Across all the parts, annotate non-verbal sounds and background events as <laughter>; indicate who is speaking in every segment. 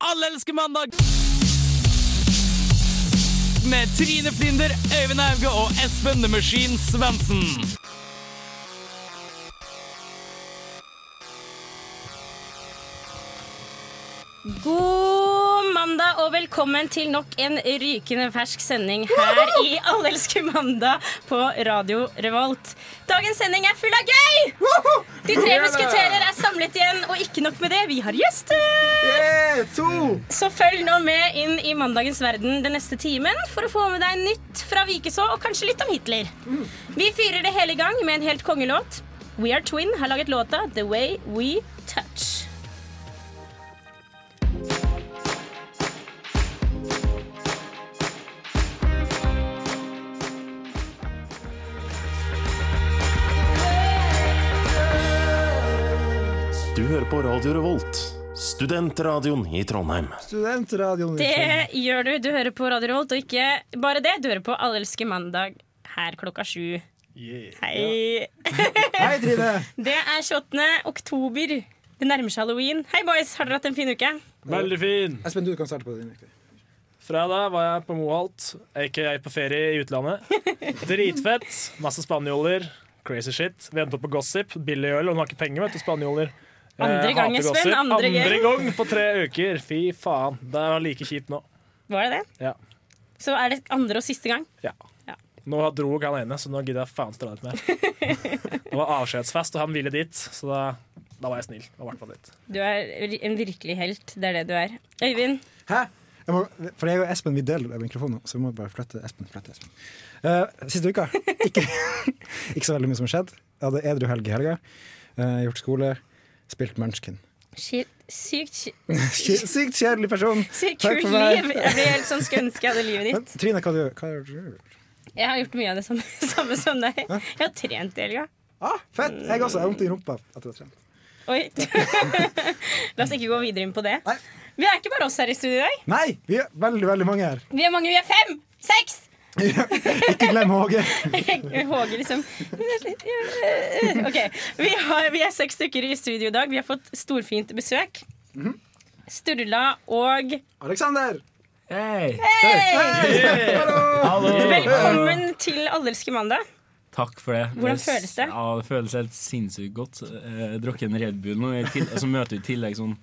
Speaker 1: Alle elsker mandag! Med Trine Flinder, Øyvind Hauge og Espen The Machine Svendsen.
Speaker 2: God mandag og velkommen til nok en rykende fersk sending her i Allelske mandag på Radio Revolt. Dagens sending er full av gøy! De tre musketerer er samlet igjen, og ikke nok med det, vi har gjester! Så følg nå med inn i mandagens verden den neste timen for å få med deg nytt fra Vikeså og kanskje litt om Hitler. Vi fyrer det hele i gang med en helt kongelåt. We Are Twin har laget låta The Way We Touch.
Speaker 3: Du hører på Radio Revolt, studentradioen i Trondheim.
Speaker 4: Studentradioen.
Speaker 2: Det gjør du. Du hører på Radio Revolt, og ikke bare det. Du hører på Allelske mandag her klokka sju. Hei.
Speaker 4: Hei, Trine.
Speaker 2: Det er 28. oktober. Det nærmer seg halloween. Hei, boys. Har dere hatt en fin uke?
Speaker 5: Veldig fin.
Speaker 4: Espen, du kan starte på din. riktig.
Speaker 5: Fredag var jeg på Moholt, aka på ferie i utlandet. Dritfett. Masse spanjoler. Crazy shit. Venter på gossip. Billig øl. Hun har ikke penger, vet du, spanjoler. Eh,
Speaker 2: Andre gang,
Speaker 5: hater
Speaker 2: Espen,
Speaker 5: gossip.
Speaker 2: andre gang.
Speaker 5: Andre gang på tre uker. Fy faen. Det er like kjipt nå.
Speaker 2: Var det det?
Speaker 5: Ja.
Speaker 2: Så er det andre og siste gang.
Speaker 5: Ja.
Speaker 2: Ja.
Speaker 5: Nå dro ikke han ene, så nå gidder jeg faen ikke dra dit mer. Det var avskjedsfest, og han ville dit, så da, da var jeg snill. Og hvert fall litt.
Speaker 2: Du er en virkelig helt. Det er det du er. Øyvind.
Speaker 4: Hæ? Jeg må, for jeg og Espen vi deler mikrofonen, så vi må bare flytte Espen. Flytte Espen. Eh, siste uka ikke, <laughs> ikke så veldig mye som har skjedd. Jeg hadde edru helg i helga. Eh, gjort skole. Spilt munchkin.
Speaker 2: Shit. Sykt, sy-
Speaker 4: Sy- Sykt kjedelig person.
Speaker 2: sykt
Speaker 4: Takk
Speaker 2: kult
Speaker 4: for meg.
Speaker 2: liv. Jeg blir helt sånn skulle ønske jeg hadde livet
Speaker 4: Men
Speaker 2: ditt.
Speaker 4: Trine, hva gjør du? Hva gjør du?
Speaker 2: Jeg har gjort mye av det samme, <laughs> samme som deg. Jeg har trent i helga.
Speaker 4: Ah, fett! Jeg også. Jeg har vondt i rumpa etter å ha trent.
Speaker 2: Oi. <laughs> La oss ikke gå videre inn på det.
Speaker 4: Nei.
Speaker 2: Vi er ikke bare oss her i studio i dag.
Speaker 4: Nei, vi er veldig, veldig mange her.
Speaker 2: Vi er mange, vi er fem! Seks! <laughs>
Speaker 4: Ikke glem Håge.
Speaker 2: Håge liksom <laughs> OK. Vi, har, vi er seks stykker i studio i dag. Vi har fått storfint besøk. Sturla og
Speaker 4: Aleksander!
Speaker 6: Hei!
Speaker 2: Velkommen til Allelske mandag.
Speaker 6: Takk for det.
Speaker 2: Hvordan
Speaker 6: s-
Speaker 2: føles det?
Speaker 6: Ja, det føles helt sinnssykt godt. Eh, Jeg drakk en Red Bull nå, i til- og så møter vi i tillegg sånn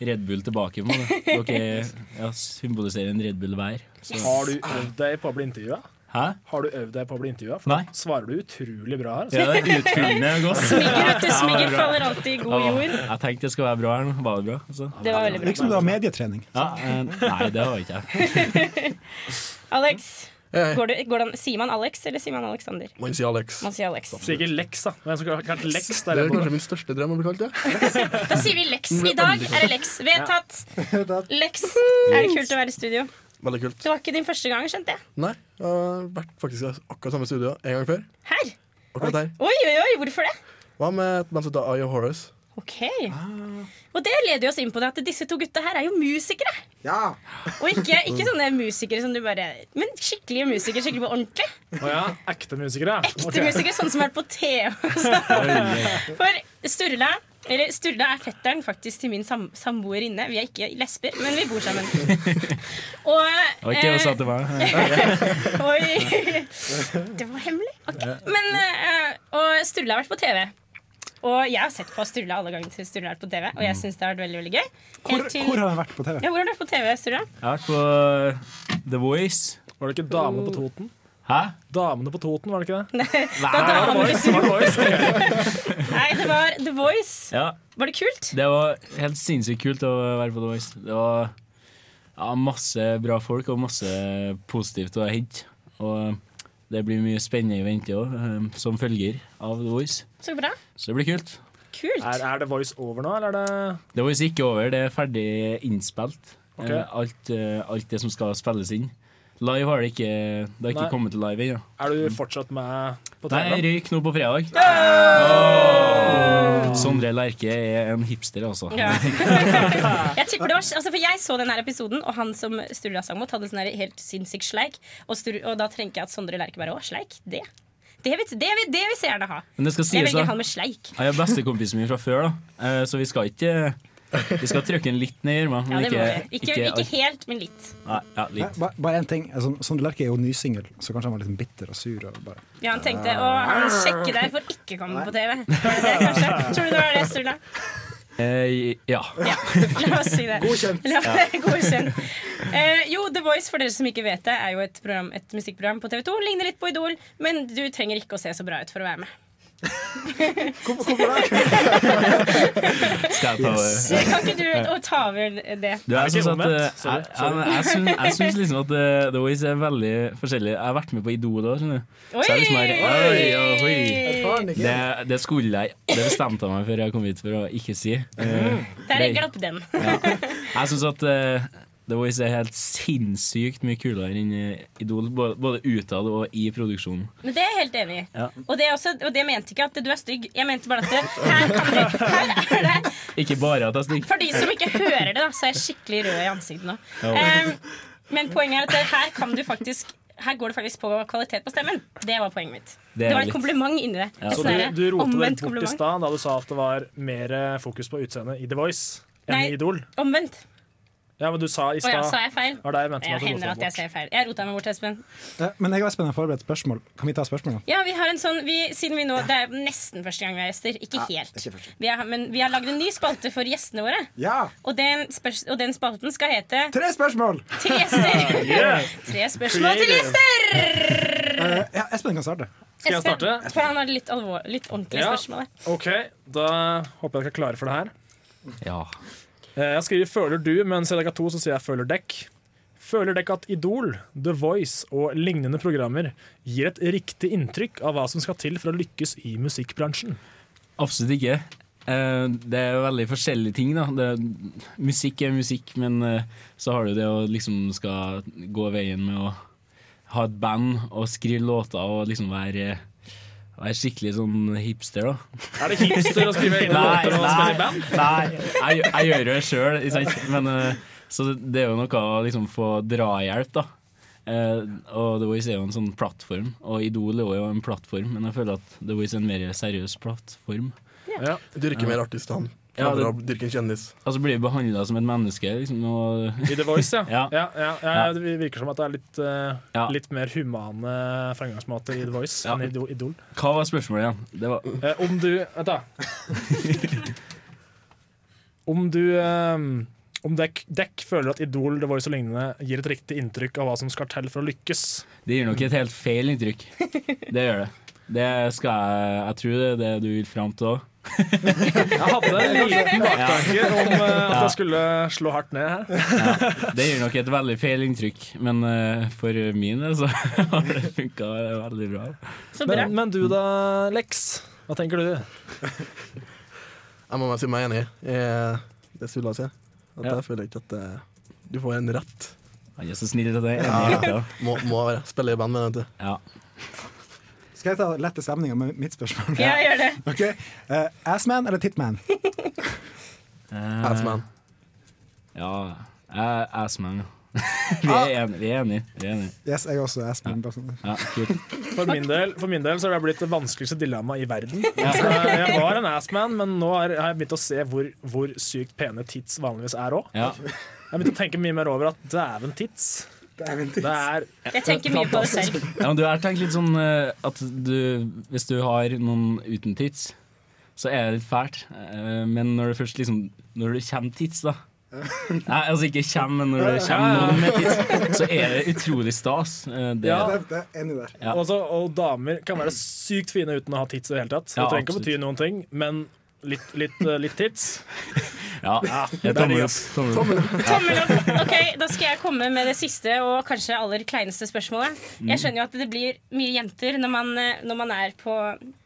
Speaker 6: Red Bull tilbake. på en måte. Dere ja, symboliserer en Red Bull hver. Så.
Speaker 5: Har du øvd deg på å bli intervjua?
Speaker 6: Hæ?
Speaker 5: Har du øvd deg på å bli intervjua? For
Speaker 6: Nei?
Speaker 5: da svarer du utrolig bra her. Altså.
Speaker 6: Ja, det er utfyllende godt.
Speaker 2: Smigger vet du,
Speaker 6: Ja,
Speaker 2: smigger
Speaker 6: bra.
Speaker 2: faller alltid i god jord.
Speaker 6: Jeg tenkte det skulle være bra her nå. Var det bra? Altså.
Speaker 2: Det var veldig bra.
Speaker 4: Liksom du har medietrening.
Speaker 6: Ja, eh, nei, det har jeg ikke jeg.
Speaker 2: Alex. Går du, går det an- sier man Alex eller sier man Alexander?
Speaker 7: Man sier Alex.
Speaker 2: Man sier Alex.
Speaker 5: Så ikke Lex, da. Hvem som kan- kan Lex der
Speaker 7: Det er
Speaker 5: på
Speaker 7: kanskje min største drøm å bli kalt det.
Speaker 2: Da sier vi Lex. I dag er det Lex. Vedtatt. Lex. Er det kult å være i studio?
Speaker 7: Veldig kult.
Speaker 2: Det var ikke din første gang, skjønte jeg.
Speaker 7: Nei, jeg har vært faktisk i akkurat samme studio en gang før.
Speaker 2: Her.
Speaker 7: Akkurat her.
Speaker 2: Oi, oi, oi, hvorfor det?
Speaker 7: Hva med dem som heter Eye of Horace?
Speaker 2: Ok. Og det leder jo oss inn på det at disse to gutta her er jo musikere.
Speaker 4: Ja.
Speaker 2: Og ikke, ikke sånne musikere som du bare Men skikkelige musikere. skikkelig på ordentlig.
Speaker 5: Å ja, ekte musikere. ja.
Speaker 2: Ekte
Speaker 5: Ok.
Speaker 2: musikere, sånn som er på TV. For Sturla eller Sturla er fetteren faktisk til min sam samboer inne. Vi er ikke lesber, men vi bor sammen. Og, eh,
Speaker 6: Det var ikke sånn det jeg sa til meg.
Speaker 2: Oi! <laughs> Det var hemmelig. Ok. Men, eh, og Sturla har vært på TV. Og jeg har sett på Sturla alle gangene Sturla har vært på TV, og
Speaker 5: Mm.
Speaker 2: jeg syns det har vært veldig veldig gøy.
Speaker 4: Hvor,
Speaker 2: Helt til-
Speaker 4: hvor har han vært på TV?
Speaker 2: Ja, Hvor har du vært på TV, Sturla?
Speaker 6: Jeg har vært på eh, The Voice.
Speaker 5: Var det ikke Damene på Toten?
Speaker 6: Hæ?
Speaker 5: Damene på Toten, var det ikke det?
Speaker 2: Da
Speaker 5: Var det
Speaker 2: damer-
Speaker 5: Voice? Var det Voice?
Speaker 2: <laughs> Nei, det var The Voice.
Speaker 6: Ja,
Speaker 2: Var det kult?
Speaker 6: Det var helt sinnssykt kult å være på The Voice. Det var ja, masse bra folk og masse positivt å hente. Og eh, det blir mye spennende i vente òg, som følger av The Voice.
Speaker 2: Så bra.
Speaker 6: Så det blir kult.
Speaker 2: Kult.
Speaker 5: Er, er det Voice over nå, eller er det
Speaker 6: The Voice er ikke over, det er ferdig innspilt.
Speaker 5: Ok.
Speaker 6: Eh, Alt, eh, alt det som skal spilles inn. Live har det ikke Det har ikke
Speaker 5: Nei.
Speaker 6: kommet til live ennå.
Speaker 5: Er du fortsatt med på
Speaker 6: Nei, jeg
Speaker 5: TV?
Speaker 6: røyk nå på fredag. Åh! Sondre Lerche er en hipster, altså.
Speaker 5: <laughs>
Speaker 2: Ja. jeg tipper det var altså For jeg så den her episoden, og han som Sturla sang mot, hadde sånn her helt sinnssyk sleik. Og, Stur, og da tenker jeg at Sondre Lerche bare Å, sleik? Det? Det vil, det vil, det vil jeg gjerne ha.
Speaker 6: Men det skal
Speaker 2: Jeg
Speaker 6: sies,
Speaker 2: velger
Speaker 6: da.
Speaker 2: han med sleik.
Speaker 6: Jeg er bestekompisen min fra før, da. Eh, Så vi skal ikke Vi skal trykke den litt ned i gjørma.
Speaker 2: Ja,
Speaker 6: men
Speaker 2: det må jeg. Ikke, ikke
Speaker 6: alt.
Speaker 2: helt, men litt.
Speaker 6: Nei, ja,
Speaker 4: Nei,
Speaker 6: litt.
Speaker 4: ba- bare én ting. Altså, Sondre Lerche er jo nysingel, så kanskje han var litt bitter og sur. Og bare.
Speaker 2: Ja, han tenkte å han sjekke deg for ikke å komme på TV. Var det det, kanskje? Tror du det var det, Sturla?
Speaker 6: Eh, ja.
Speaker 2: Ja, la oss si det.
Speaker 7: Godkjent.
Speaker 2: La, godkjent. Eh, jo, The Voice, for dere som ikke vet det, er jo et, program, et musikkprogram på TV 2. Ligner litt på Idol, men du trenger ikke å se så bra ut for å være med.
Speaker 6: Skal jeg ta over?
Speaker 2: Kan ikke du å ta over det?
Speaker 6: Du, jeg
Speaker 5: det ikke
Speaker 6: syns at
Speaker 5: omvendt?
Speaker 6: eh,
Speaker 5: Sorry,
Speaker 6: jeg- jeg- jeg syns- Jeg syns liksom at eh, The Voice er veldig forskjellig. Jeg har vært med på Idol òg, skjønner du.
Speaker 2: Oi!
Speaker 6: Så er det liksom her, oi, oi.
Speaker 7: Erfaren, ikke?
Speaker 6: Det, det skulle jeg Det bestemte jeg meg før jeg kom hit for å ikke si.
Speaker 5: Mm.
Speaker 6: Eh,
Speaker 2: Der glapp den.
Speaker 6: Jeg syns at eh, The Voice er helt sinnssykt mye kulere enn eh, Idol, både, både utad og i produksjonen.
Speaker 2: Men det er jeg helt enig i.
Speaker 6: Ja.
Speaker 2: Og, det er også, og det mente ikke at du er stygg. Jeg mente bare at det, her, kan du, her er det
Speaker 6: Ikke bare at jeg stikker.
Speaker 2: For de som ikke hører det, da, så er jeg skikkelig rød i ansiktet nå.
Speaker 6: Ja.
Speaker 2: Em, men poenget er at det, her kan du faktisk her går det faktisk på kvalitet på stemmen. Det var poenget mitt.
Speaker 6: Det
Speaker 2: Det,
Speaker 6: er
Speaker 2: var et
Speaker 6: litt-
Speaker 2: kompliment inni det. Et
Speaker 5: Så
Speaker 2: sånn
Speaker 5: du,
Speaker 2: her
Speaker 5: du rotet det
Speaker 2: omvendt
Speaker 5: bort i
Speaker 2: kompliment.
Speaker 5: stad da du sa at det var mer eh, fokus på utseendet i The Voice enn
Speaker 2: Nei.
Speaker 5: i Idol.
Speaker 2: Omvendt.
Speaker 5: Ja, men du sa i
Speaker 2: Å ja, sa
Speaker 5: stad
Speaker 2: jeg feil?
Speaker 5: Var sånn det jeg mente
Speaker 2: Jeg
Speaker 5: at du rotet
Speaker 2: hender
Speaker 5: det
Speaker 2: at jeg
Speaker 5: bort.
Speaker 2: ser feil. Jeg rota meg bort, Espen.
Speaker 4: Eh, Men jeg og Espen har forberedt spørsmål. Kan vi ta spørsmålene?
Speaker 2: Ja, vi har en sånn vi, Siden vi nå Det er nesten første gang vi har gjester. Ikke helt. Vi har, men vi har lagd en ny spalte for gjestene våre.
Speaker 4: Ja!
Speaker 2: Og den, spørs, og den spalten skal hete
Speaker 4: Tre spørsmål!
Speaker 2: Til
Speaker 6: <laughs>
Speaker 2: gjester.
Speaker 5: Yeah.
Speaker 2: Tre spørsmål til
Speaker 5: Creative.
Speaker 2: gjester!
Speaker 4: Eh, ja, Espen kan starte.
Speaker 5: Skal jeg
Speaker 2: Espen,
Speaker 5: starte?
Speaker 2: For han har litt, alvor, litt ordentlige
Speaker 5: Ja.
Speaker 2: spørsmål. her.
Speaker 5: OK, da håper jeg dere er klare for det her.
Speaker 6: Ja.
Speaker 5: Eh, Jeg skriver 'føler du', men siden dere er to, så sier jeg 'føler dekk'. Føler dere at Idol, The Voice og lignende programmer gir et riktig inntrykk av hva som skal til for å lykkes i musikkbransjen?
Speaker 6: Absolutt ikke. Eh, Det er jo veldig forskjellige ting, da. Det, musikk er musikk, men eh, så har du det å liksom skal gå veien med å ha et band og skrive låter og liksom være, eh, være skikkelig sånn hipster, da.
Speaker 5: Er det hipster å skrive egne låter og spille i band?
Speaker 6: nei. Jeg, jeg gjør jo det sjøl, ikke sant. Men, eh, så det er jo noe å liksom få drahjelp, da. Eh, og The Voice er jo en sånn plattform, og Idol er jo en plattform, men jeg føler at The Voice er en mer seriøs plattform.
Speaker 5: Ja.
Speaker 7: Dyrker mer artist, han.
Speaker 6: Ja,
Speaker 7: Framfor
Speaker 6: det-
Speaker 7: å dyrke en kjendis.
Speaker 6: Altså blir vi behandla som et menneske, liksom. Og, <laughs>
Speaker 5: I The Voice, ja.
Speaker 6: Ja.
Speaker 5: Ja, ja, ja. Det virker som at det er litt, eh,
Speaker 6: Ja.
Speaker 5: litt mer humane framgangsmåter i The Voice
Speaker 6: Ja.
Speaker 5: enn i Do- Idol.
Speaker 6: hva var spørsmålet igjen? Det var
Speaker 5: Eh, Om du Vent, da. Om du eh, om dekk, dekk føler at Idol, The Voice og lignende gir et riktig inntrykk av hva som skal til for å lykkes,
Speaker 6: Det gir nok et helt feil inntrykk. Det gjør det. Det skal jeg Jeg tror det er det du vil fram til òg.
Speaker 5: Jeg hadde en liten baktanke om eh, at jeg skulle slå hardt ned her.
Speaker 6: Det gir nok et veldig feil inntrykk, men eh, for min del så <laughs> har det funka veldig bra.
Speaker 2: Så bra.
Speaker 5: Men, men du da, Lex? Hva tenker du?
Speaker 7: Jeg må bare si meg enig i eh, det Sula sier. At
Speaker 5: Ja.
Speaker 7: jeg føler ikke at eh, du får en rett.
Speaker 6: Han er så snill at det er enig i hjertet.
Speaker 7: Må, må være. Spille i band med den, vet du.
Speaker 6: Ja.
Speaker 4: Skal jeg ta lette stemninga med mitt spørsmål?
Speaker 2: Ja, gjør det.
Speaker 4: <laughs> Ok, eh, Assman eller Titman?
Speaker 6: Eh,
Speaker 7: Assman.
Speaker 6: Ja. Jeg er Assman. <laughs> Vi er enige. Vi er enige. Vi er enige.
Speaker 4: Yes, jeg er også Assman. bare sånn.
Speaker 6: Ja, kult.
Speaker 5: For min del, for min del så har det blitt det vanskeligste dilemmaet i verden. Så jeg var en assman, men nå har har jeg begynt å se hvor, hvor sykt pene tits vanligvis er òg.
Speaker 6: Ja.
Speaker 5: Jeg har begynt å tenke mye mer over at dæven tits. Det er
Speaker 2: Jeg tenker mye på det selv.
Speaker 6: Ja, men du har tenkt litt sånn eh, at du, hvis du har noen uten tits, så er det litt fælt. Eh, men når det først liksom Når det kommer tits, da Nei, altså ikke kommer, men når det kommer noen med tits, så er det utrolig stas. Eh, det,
Speaker 5: Ja.
Speaker 4: Det er enig der.
Speaker 6: Ja.
Speaker 5: altså, Og damer kan være sykt fine uten å ha tits i det hele tatt. Det
Speaker 6: Ja,
Speaker 5: trenger ikke å
Speaker 6: absolutt.
Speaker 5: bety noen ting, men litt, litt, eh, litt tits.
Speaker 6: ja, det er tommel opp. Tommel opp.
Speaker 2: <laughs> Tommel opp. Ok, Da skal jeg komme med det siste og kanskje aller kleineste spørsmålet. Jeg skjønner jo at det blir mye jenter når man, eh, når man er på,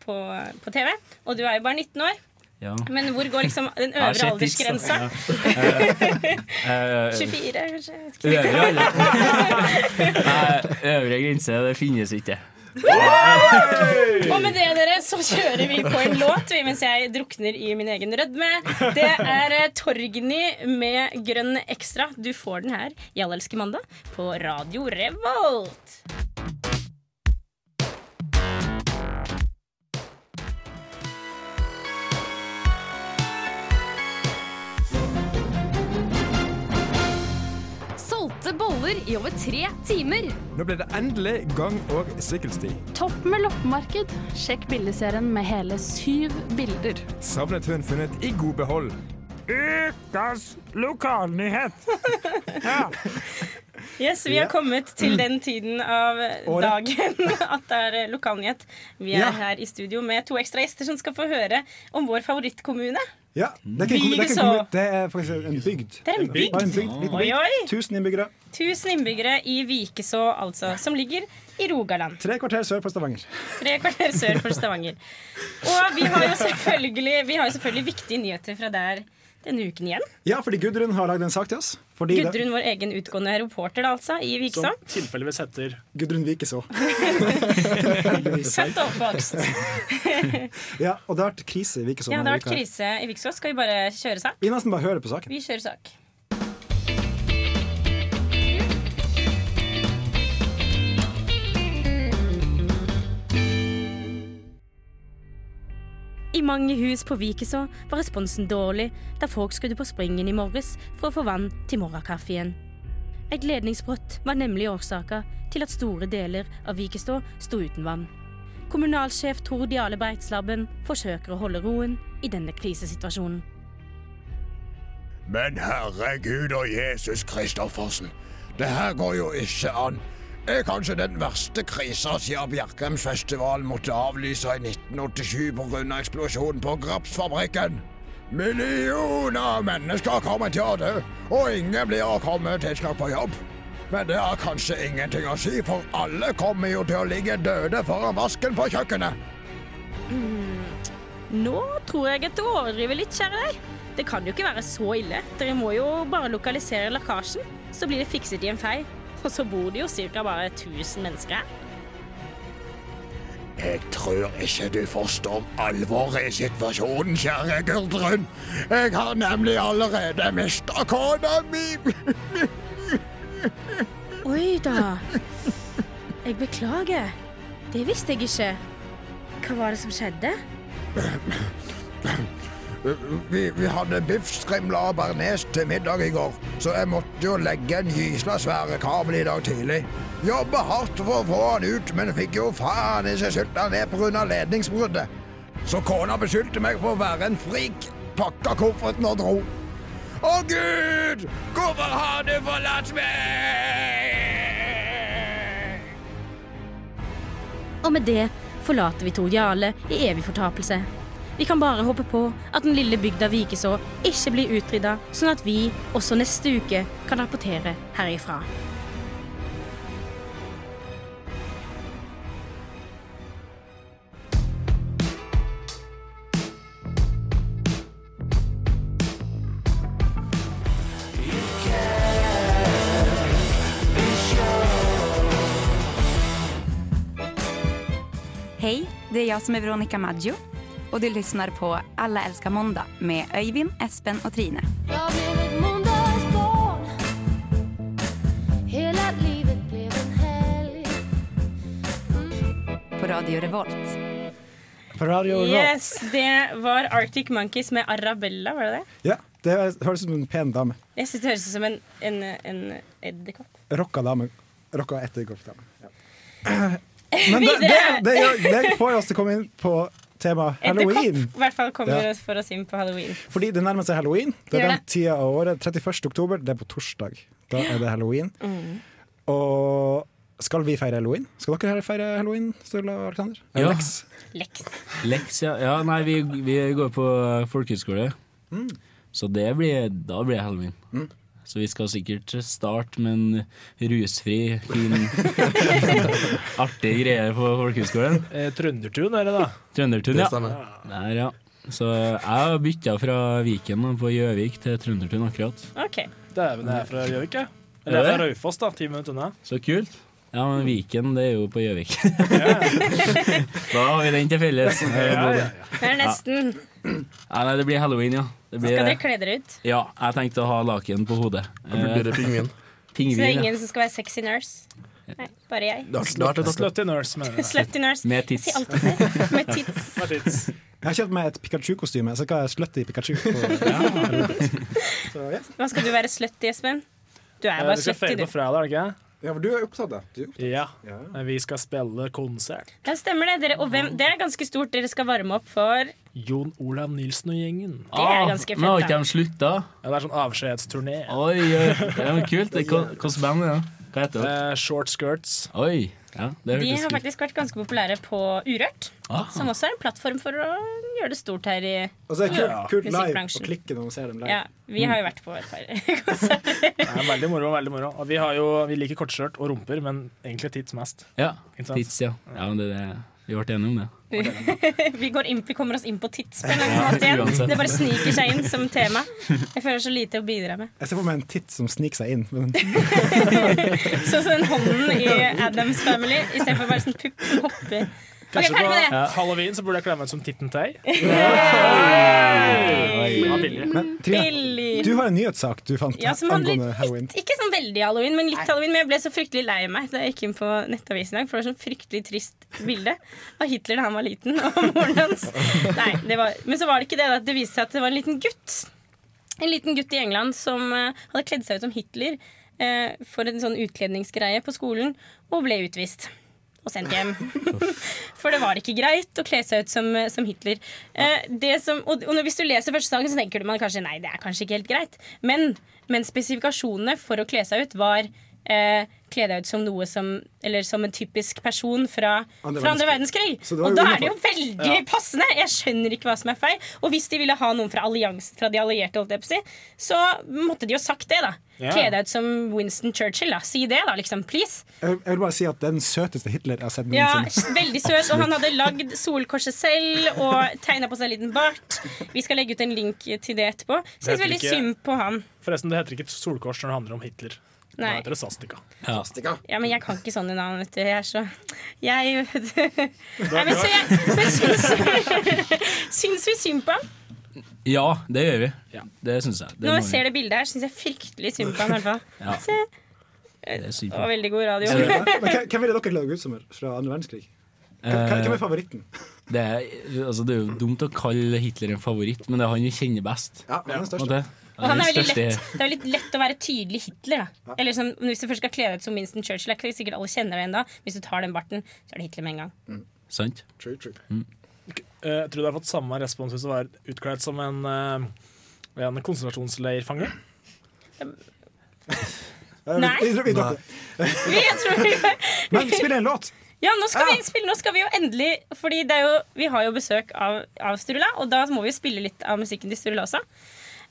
Speaker 2: på, på TV, og du er jo bare 19 år.
Speaker 6: Ja.
Speaker 2: Men hvor går liksom den
Speaker 6: Jeg
Speaker 2: øvre
Speaker 6: har sett tits, da.
Speaker 2: aldersgrensa? <laughs>
Speaker 6: Eh,
Speaker 2: 24, kanskje? Jeg vet ikke.
Speaker 6: øvre alder. Nei, øvre grense, det finnes ikke.
Speaker 2: Og med det, dere, så kjører vi på en låt vi, mens jeg drukner i min egen rødme. Det er eh, Torgny med Grønn Ekstra. Du får den her i Allelske mandag på Radio Revolt.
Speaker 8: boller i over tre timer.
Speaker 9: Nå ble det endelig gang- og sykkelsti.
Speaker 8: Topp med loppemarked. Sjekk bildeserien med hele syv bilder.
Speaker 9: Savnet hun funnet i god behold.
Speaker 2: Yes, Vi har kommet til den tiden av dagen <laughs> at det er eh, lokalnyhet. Vi er
Speaker 4: Ja.
Speaker 2: her i studio med to ekstra gjester som skal få høre om vår favorittkommune.
Speaker 4: Ja, det, er ikke en kommun- det, er
Speaker 2: Vigeså.
Speaker 4: ikke en kommun- det er faktisk en bygd.
Speaker 2: Det er en bygd.
Speaker 4: Bare en bygd, liten
Speaker 2: Oi, oi.
Speaker 4: bygd. 1000 innbyggere.
Speaker 2: 1000 innbyggere i Vikeså, altså, som ligger i Rogaland.
Speaker 4: Tre kvarter sør for Stavanger.
Speaker 2: Tre kvarter sør for Stavanger. Og vi har jo selvfølgelig, vi har jo selvfølgelig viktige nyheter fra der denne uken igjen.
Speaker 4: Ja, fordi Gudrun har lagd en sak til oss. Fordi det-
Speaker 2: Gudrun, vår egen utgående reporter da, altså, i Vikeså.
Speaker 5: Som tilfeldigvis heter
Speaker 4: Gudrun Vikeså.
Speaker 2: Født og oppvokst.
Speaker 4: Ja, og det har vært krise i Vikeså.
Speaker 2: Ja, det
Speaker 4: denne
Speaker 2: har vært
Speaker 4: uka her.
Speaker 2: krise i Vikeså. Skal vi bare kjøre sak?
Speaker 4: Vi nesten bare hører på saken.
Speaker 2: Vi kjører sak. I mange hus på Vikeså var responsen dårlig da folk skulle på springen i morges for å få vann til morgenkaffen. Et ledningsbrott var nemlig årsaka til at store deler av Vikestå sto uten vann. Kommunalsjef Tord Jale Breitslabben forsøker å holde roen i denne krisesituasjonen.
Speaker 10: Men herregud og Jesus Kristoffersen, det her går jo ikke an. Det er kanskje den verste krisa siden Bjerkreimsfestivalen måtte avlyse i 1987 pga. eksplosjonen på Grapsfabrikken. Millioner av mennesker kommer til å dø, og ingen blir å komme tidsnok på jobb. Men det har kanskje ingenting å si, for alle kommer jo til å ligge døde foran vasken på kjøkkenet.
Speaker 2: Nå tror jeg at du overdriver litt, kjære deg. Det kan jo ikke være så ille. Dere må jo bare lokalisere lekkasjen, så blir det fikset i en fei. Og så bor det jo ca. bare 1000 mennesker her.
Speaker 10: Jeg tror ikke du forstår alvoret i situasjonen, kjære Gudrun. Jeg har nemlig allerede mista kona mi.
Speaker 2: Oi da. Jeg beklager. Det visste jeg ikke. Hva var det som skjedde?
Speaker 10: Vi, vi hadde biffstrimler og bearnés til middag i går, så jeg måtte jo legge en gysla svære kabel i dag tidlig. Jobba hardt for å få han ut, men fikk jo faen ikke sylta ned pga. ledningsbruddet. Så kona beskyldte meg for å være en frik, pakka kofferten og dro. Å gud, hvorfor har du forlatt meg?
Speaker 2: Og med det forlater vi Tor Jarle i evig fortapelse. Vi kan bare håpe på at den lille bygda Vikeså ikke blir utrydda, sånn at vi også neste uke kan rapportere herifra.
Speaker 11: Hej, det är jag som är Veronica Maggio och du lyssnar på Alla älskar måndag med Öyvind, Espen och Trine.
Speaker 8: Jeg blev et mandagsbarn. Hele livet blev en helg.
Speaker 11: På Radio Revolt.
Speaker 4: På Radio Revolt.
Speaker 2: Yes, det var Arctic Monkeys med Arabella, var det det?
Speaker 4: Ja, det er- høres ut som en pen dame.
Speaker 2: Jeg synes det høres ut som en, en, en edderkopp.
Speaker 4: Rocka dame. Rocka ettergårdsdame. Ja.
Speaker 2: <laughs>
Speaker 4: Men det, det, det, gjør- det får oss til å komme inn på temaet halloween.
Speaker 2: Edderkopp i hvert fall kommer
Speaker 4: Ja.
Speaker 2: oss for oss inn på halloween.
Speaker 4: Fordi det nærmer seg halloween. Det
Speaker 2: Gjør
Speaker 4: er den
Speaker 2: det.
Speaker 4: tida av året. 31. oktober, det er på torsdag. Da er det halloween.
Speaker 2: Mm.
Speaker 4: Og skal vi feire halloween? Skal dere feire halloween, Sturla og Alexander?
Speaker 6: Ja.
Speaker 4: Alex?
Speaker 2: Leks.
Speaker 6: Leks, ja. ja nei, vi, vi går på folkehøyskole.
Speaker 7: Mm.
Speaker 6: Så det blir, da blir det halloween. Så vi skal sikkert starte med en rusfri,
Speaker 7: <laughs>
Speaker 6: fin, artig greie på folkehøyskolen.
Speaker 5: eh, Trøndertun, er det da?
Speaker 6: Trøndertun,
Speaker 7: Det
Speaker 6: ja.
Speaker 7: stemmer.
Speaker 6: Der, ja. Så jeg har bytta fra Viken og på Gjøvik til Trøndertun akkurat.
Speaker 2: Ok.
Speaker 5: Dæven, jeg er fra Gjøvik, jeg. Eller jeg er
Speaker 6: Er
Speaker 5: fra
Speaker 6: det?
Speaker 5: Raufoss, da. Ti minutter unna.
Speaker 6: Så kult. Ja, men Viken det er jo på Gjøvik. <laughs> da har vi den til felles.
Speaker 5: Ja, ja, ja.
Speaker 2: Det er nesten.
Speaker 6: Nei, nei, det blir halloween, ja. Det blir,
Speaker 2: Skal dere kle dere ut?
Speaker 6: Ja, jeg tenkte å ha laken på hodet.
Speaker 7: Blir det pingvin?
Speaker 6: Eh,
Speaker 2: Så det er
Speaker 6: Pingvin. ja.
Speaker 2: ingen som skal være sexy nurse? Nei, bare jeg.
Speaker 7: Det har det har vært et
Speaker 5: Slutty nurse, mener jeg.
Speaker 2: Slutty nurse.
Speaker 6: Med tits.
Speaker 2: Jeg sier alltid det. Med tits.
Speaker 5: Hva er tids?
Speaker 4: Jeg har kjøpt meg et Pikachu-kostyme, så kan jeg slutte i Pikachu. På, så, ja.
Speaker 2: Hva skal du være slutty, Espen? Du er bare
Speaker 5: Eh, Vi skal
Speaker 2: slektig,
Speaker 5: fade
Speaker 2: du.
Speaker 5: på fredag, er det ikke?
Speaker 4: Ja, for du er opptatt, da. Du er opptatt.
Speaker 5: Ja. Eh, Vi skal spille konsert.
Speaker 2: Ja, stemmer det. Dere, og hvem, det er ganske stort. Dere skal varme opp for
Speaker 5: Jon Olav Nilsen og gjengen.
Speaker 2: Det er Ah, ganske fett, men har ikke da. de
Speaker 5: slutta? Ja, det er sånn avskjedsturné.
Speaker 6: Oi, oi, det er jo kult. Det- hva- Hvilket band er det? Hva heter det?
Speaker 5: Eh, short Skirts.
Speaker 6: Oi, ja, det
Speaker 2: De
Speaker 6: hørtes
Speaker 2: har
Speaker 6: kult
Speaker 2: faktisk vært ganske populære på Urørt.
Speaker 6: Ah.
Speaker 2: Som også er en plattform for å gjøre det stort her i
Speaker 4: Og så er det kult, kult live å
Speaker 2: musikkbransjen.
Speaker 4: klikke når man ser dem live.
Speaker 2: Ja, vi har jo vært på et par. <laughs>
Speaker 5: Det er veldig moro. veldig moro Og Vi, har jo, vi liker kortskjørt og rumper, men egentlig tits mest.
Speaker 6: Ja,
Speaker 5: Ikke sant?
Speaker 6: Tits, ja. ja men det, det, vi ble enige om det.
Speaker 2: vi, går inn, vi kommer oss inn på tits på en eller annen måte
Speaker 6: uansett.
Speaker 2: igjen. Det bare sniker seg inn som tema. Jeg føler så lite å bidra med.
Speaker 4: Jeg ser for meg en titt som sniker seg inn.
Speaker 2: <laughs>
Speaker 4: Men
Speaker 2: Sånn som den hånden i Adams Family, istedenfor bare sånn pupp som hopper. Ok,
Speaker 5: Kanskje
Speaker 2: ferdig med det.
Speaker 5: på halloween så burde jeg kle meg ut som Titten Tay. Ja, billig.
Speaker 4: Men Trine,
Speaker 2: Billig.
Speaker 4: du har en nyhetssak du fant
Speaker 2: Ja, som handler
Speaker 4: angående heroin.
Speaker 2: Ikke sånn veldig halloween, men litt halloween. Men jeg ble så fryktelig lei meg da jeg gikk inn på nettavisen i dag, for det var sånn fryktelig trist bilde av Hitler da han var liten, og moren hans. Nei, det var, men så var det ikke det. Da. Det viste seg at det var en liten gutt. En liten gutt i England som eh, hadde kledd seg ut som Hitler eh, for en sånn utkledningsgreie på skolen, og ble utvist. Og sendt hjem. <laughs> For det var ikke greit å kle seg ut som, som Hitler. Eh, det som, og, og når- hvis du leser første saken, så tenker man kanskje nei, det er kanskje ikke helt greit. Men, men spesifikasjonene for å kle seg ut var eh, kle deg ut som noe som Eller som en typisk person fra
Speaker 12: Andre
Speaker 2: fra andre
Speaker 12: verdenskrig.
Speaker 2: verdenskrig.
Speaker 12: Så det var
Speaker 2: Og
Speaker 12: jo
Speaker 2: da er det jo
Speaker 12: innenfor.
Speaker 2: veldig
Speaker 12: Ja.
Speaker 2: passende! Jeg skjønner ikke hva som er feil. Og hvis de ville ha noen fra, allians, fra de allierte, holdt jeg på å si, så måtte de jo sagt det, da.
Speaker 4: Ja.
Speaker 2: Kle deg ut som Winston Churchill, da. Si det, da, liksom. Please.
Speaker 4: Jeg vil- jeg vil bare si at det er den søteste Hitler jeg har sett
Speaker 2: Ja, <laughs>
Speaker 4: noensinne.
Speaker 2: veldig søt. Og han hadde lagd solkorset selv og tegna på seg en liten bart. Vi skal legge ut en link til det etterpå. Syns veldig synd på han.
Speaker 5: Forresten, det heter ikke solkors når det handler om Hitler. Da
Speaker 2: Nei.
Speaker 5: heter det Sastika.
Speaker 6: Ja.
Speaker 2: Ja, men jeg kan ikke sånn i navn, vet du. Jeg er så Jeg <laughs> Nei, men så jeg <laughs> men syns- Syns vi synd på han?
Speaker 6: Ja, det gjør vi. Det syns jeg. Det
Speaker 2: Når
Speaker 6: må
Speaker 2: jeg
Speaker 6: vi.
Speaker 2: ser det bildet her, syns jeg fryktelig synd på han. i hvert fall.
Speaker 6: Ja.
Speaker 2: Se,
Speaker 6: Det er sykt.
Speaker 2: det var veldig god radio.
Speaker 4: Men hvem- Hvem ville dere kledd ut som her fra andre verdenskrig? Hvem hvem er favoritten?
Speaker 6: Det er, altså, det er jo dumt å kalle Hitler en favoritt, men det er han vi kjenner best.
Speaker 4: Ja, han er den største.
Speaker 6: Det,
Speaker 2: Og han er
Speaker 6: den
Speaker 2: veldig
Speaker 6: største-
Speaker 2: lett, det er litt lett å være tydelig Hitler. Da. Eller som, Hvis du først skal kle deg ut som Winston Churchill, er ikke sikkert alle kjenner deg ennå. Hvis du tar den barten, så er det Hitler med en gang.
Speaker 6: Sant.
Speaker 5: Eh, Jeg tror du har fått samme respons hvis du var utkledd som en, eh, en konsentrasjonsleirfange.
Speaker 2: Nei.
Speaker 4: Eh, Vi- vi- vi- dere.
Speaker 2: <laughs> Vi, jeg tror vi-
Speaker 4: <laughs> Men spill en låt!
Speaker 2: Ja, nå skal vi spille, nå skal vi jo endelig Fordi det er jo, vi har jo besøk av, av Sturla, og da må vi jo spille litt av musikken til Sturla også.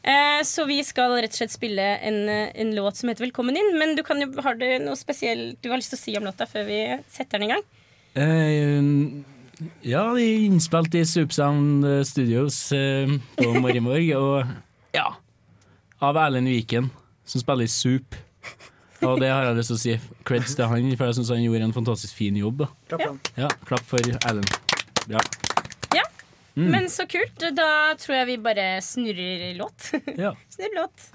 Speaker 2: Eh, så vi skal rett og slett spille en, eh, en låt som heter 'Velkommen inn'. Men du kan jo, har du noe spesielt du har lyst til å si om låta før vi setter den i gang?
Speaker 6: Eh, ja, de er innspilt i Supersound Studios eh, på Morgenborg, og ja, av Erlend Viken, som spiller i Soup. Og det har jeg lyst til å si. Creds til han, for jeg syns han gjorde en fantastisk fin jobb. da.
Speaker 4: Klapp for han.
Speaker 6: Ja, klapp for Erlend. Bra.
Speaker 2: Ja.
Speaker 6: Mm.
Speaker 2: Men så kult. Da tror jeg vi bare snurrer låt. <laughs>
Speaker 6: Ja.
Speaker 2: Snurr låt.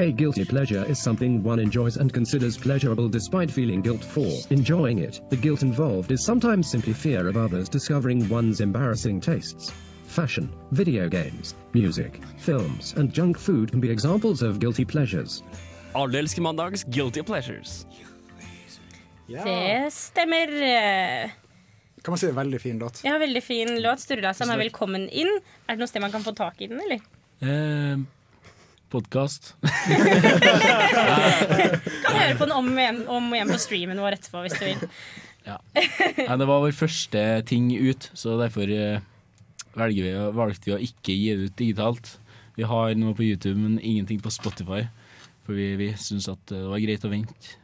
Speaker 13: A guilty pleasure is something one enjoys and considers pleasurable despite feeling guilt for enjoying it. The guilt involved is sometimes simply fear of others discovering one's embarrassing tastes. Fashion, video games, music, films, and junk food can be examples of guilty pleasures.
Speaker 14: Alderelskemandags Guilty Pleasures.
Speaker 2: Det stemmer.
Speaker 4: Kan man si det er en veldig fin låt?
Speaker 2: Ja, veldig fin låt. Sturla som er velkommen inn. Er det noe sted man kan få tak i den, eller?
Speaker 6: Eh, Podkast.
Speaker 2: Kan høre på den om og igjen, om og igjen på streamen vår etterpå, hvis du vil.
Speaker 6: Nei, det var vår første ting ut, så derfor eh, velger vi, å- valgte vi å ikke gi det ut digitalt. Vi har noe på YouTube, men ingenting på Spotify, for vi, vi syns at det var greit å vente.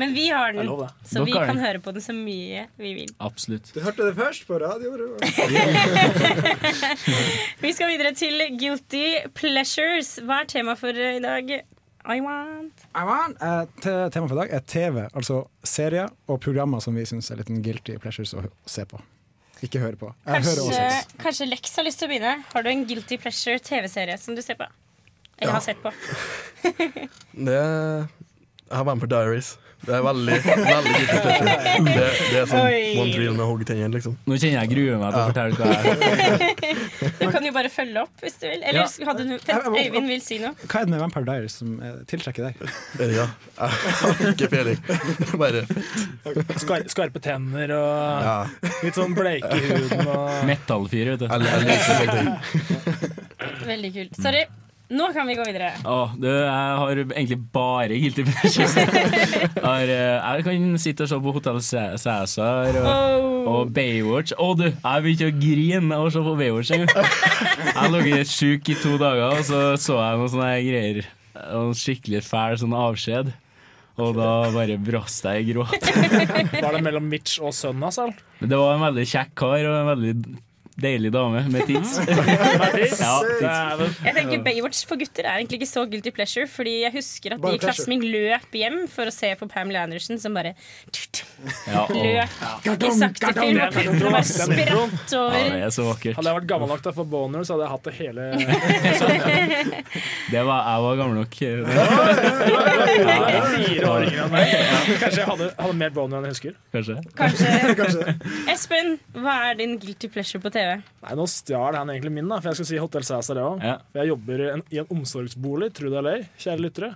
Speaker 2: Men vi har den,
Speaker 6: Jeg lover det.
Speaker 2: så vi
Speaker 6: Dere har
Speaker 2: kan
Speaker 6: den.
Speaker 2: høre på den så mye vi vil.
Speaker 6: Absolutt.
Speaker 4: Du hørte det først på radio. du.
Speaker 2: Vi skal videre til Guilty Pleasures. Hva er temaet for eh, i dag, I want.
Speaker 4: I want. Eh, te tema for i dag er TV, altså serier og programmer som vi syns er litt sånn guilty pleasures å hø- se på. Ikke høre på. Jeg hører
Speaker 2: Kanskje,
Speaker 4: også.
Speaker 2: kanskje Lex har lyst til å begynne. Har du en Guilty Pleasure TV-serie som du ser på? Eller har sett på?
Speaker 7: Det Jeg har vært med på Diaries. Det er veldig veldig guilty pleasure. Det, det er sånn
Speaker 2: Oi.
Speaker 7: one drill med hoggtennene, liksom.
Speaker 6: Nå kjenner jeg gruer meg til å fortelle hva jeg
Speaker 2: Du kan jo bare følge opp hvis du vil. Eller
Speaker 4: Ja.
Speaker 2: hadde du Vent, Øyvind vil si noe.
Speaker 4: Hva er det med Vampire Diaries som eh, tiltrekker deg?
Speaker 7: Ja, <laughs> jeg har ikke peiling. Bare
Speaker 5: Skar, skarpe tenner og litt sånn bleike i huden. Og...
Speaker 6: Metallfyr, vet du.
Speaker 2: Veldig kult. Sorry. Nå kan vi gå videre.
Speaker 6: Å, du, jeg har egentlig bare guilty pleasures. Jeg har, eh, jeg kan sitte og se på Hotell Cæ- Cæsar og,
Speaker 2: Oh.
Speaker 6: og Baywatch. Å, du, jeg begynte å grine av å se på Baywatch. Jeg, jeg har ligget sjuk i to dager, og så så jeg noen sånne greier. En skikkelig fæl sånn avskjed. Og da bare brast jeg i gråt.
Speaker 5: Var det mellom Mitch og sønnen hans? eller?
Speaker 6: Men det var en veldig kjekk kar og en veldig deilig dame med tits. Ja, tits.
Speaker 2: Jeg tenker Baywatch for gutter er egentlig ikke så guilty pleasure, fordi jeg husker at
Speaker 6: Bare
Speaker 2: de i klassen min
Speaker 6: pleasure.
Speaker 2: løp hjem for å se på Pamela Anderson, som bare
Speaker 6: Ja, og-
Speaker 2: løp i sakte film, og puppene bare spratt
Speaker 6: Ja,
Speaker 2: over.
Speaker 6: det er så vakkert.
Speaker 5: Hadde jeg vært gammel nok til å få boner, så hadde jeg hatt det hele
Speaker 6: Det var, jeg var gammel nok.
Speaker 5: fire år yngre enn meg. Kanskje jeg hadde, hadde mer boner enn jeg husker.
Speaker 6: Kanskje. <laughs>
Speaker 2: Espen, hva er din guilty pleasure på TV?
Speaker 5: Nei, Nå stjal han egentlig min, da, for jeg skal si Hotell Cæsar. jeg også.
Speaker 6: Ja.
Speaker 5: For Jeg jobber i en, i en omsorgsbolig, tro det eller ei, kjære lyttere.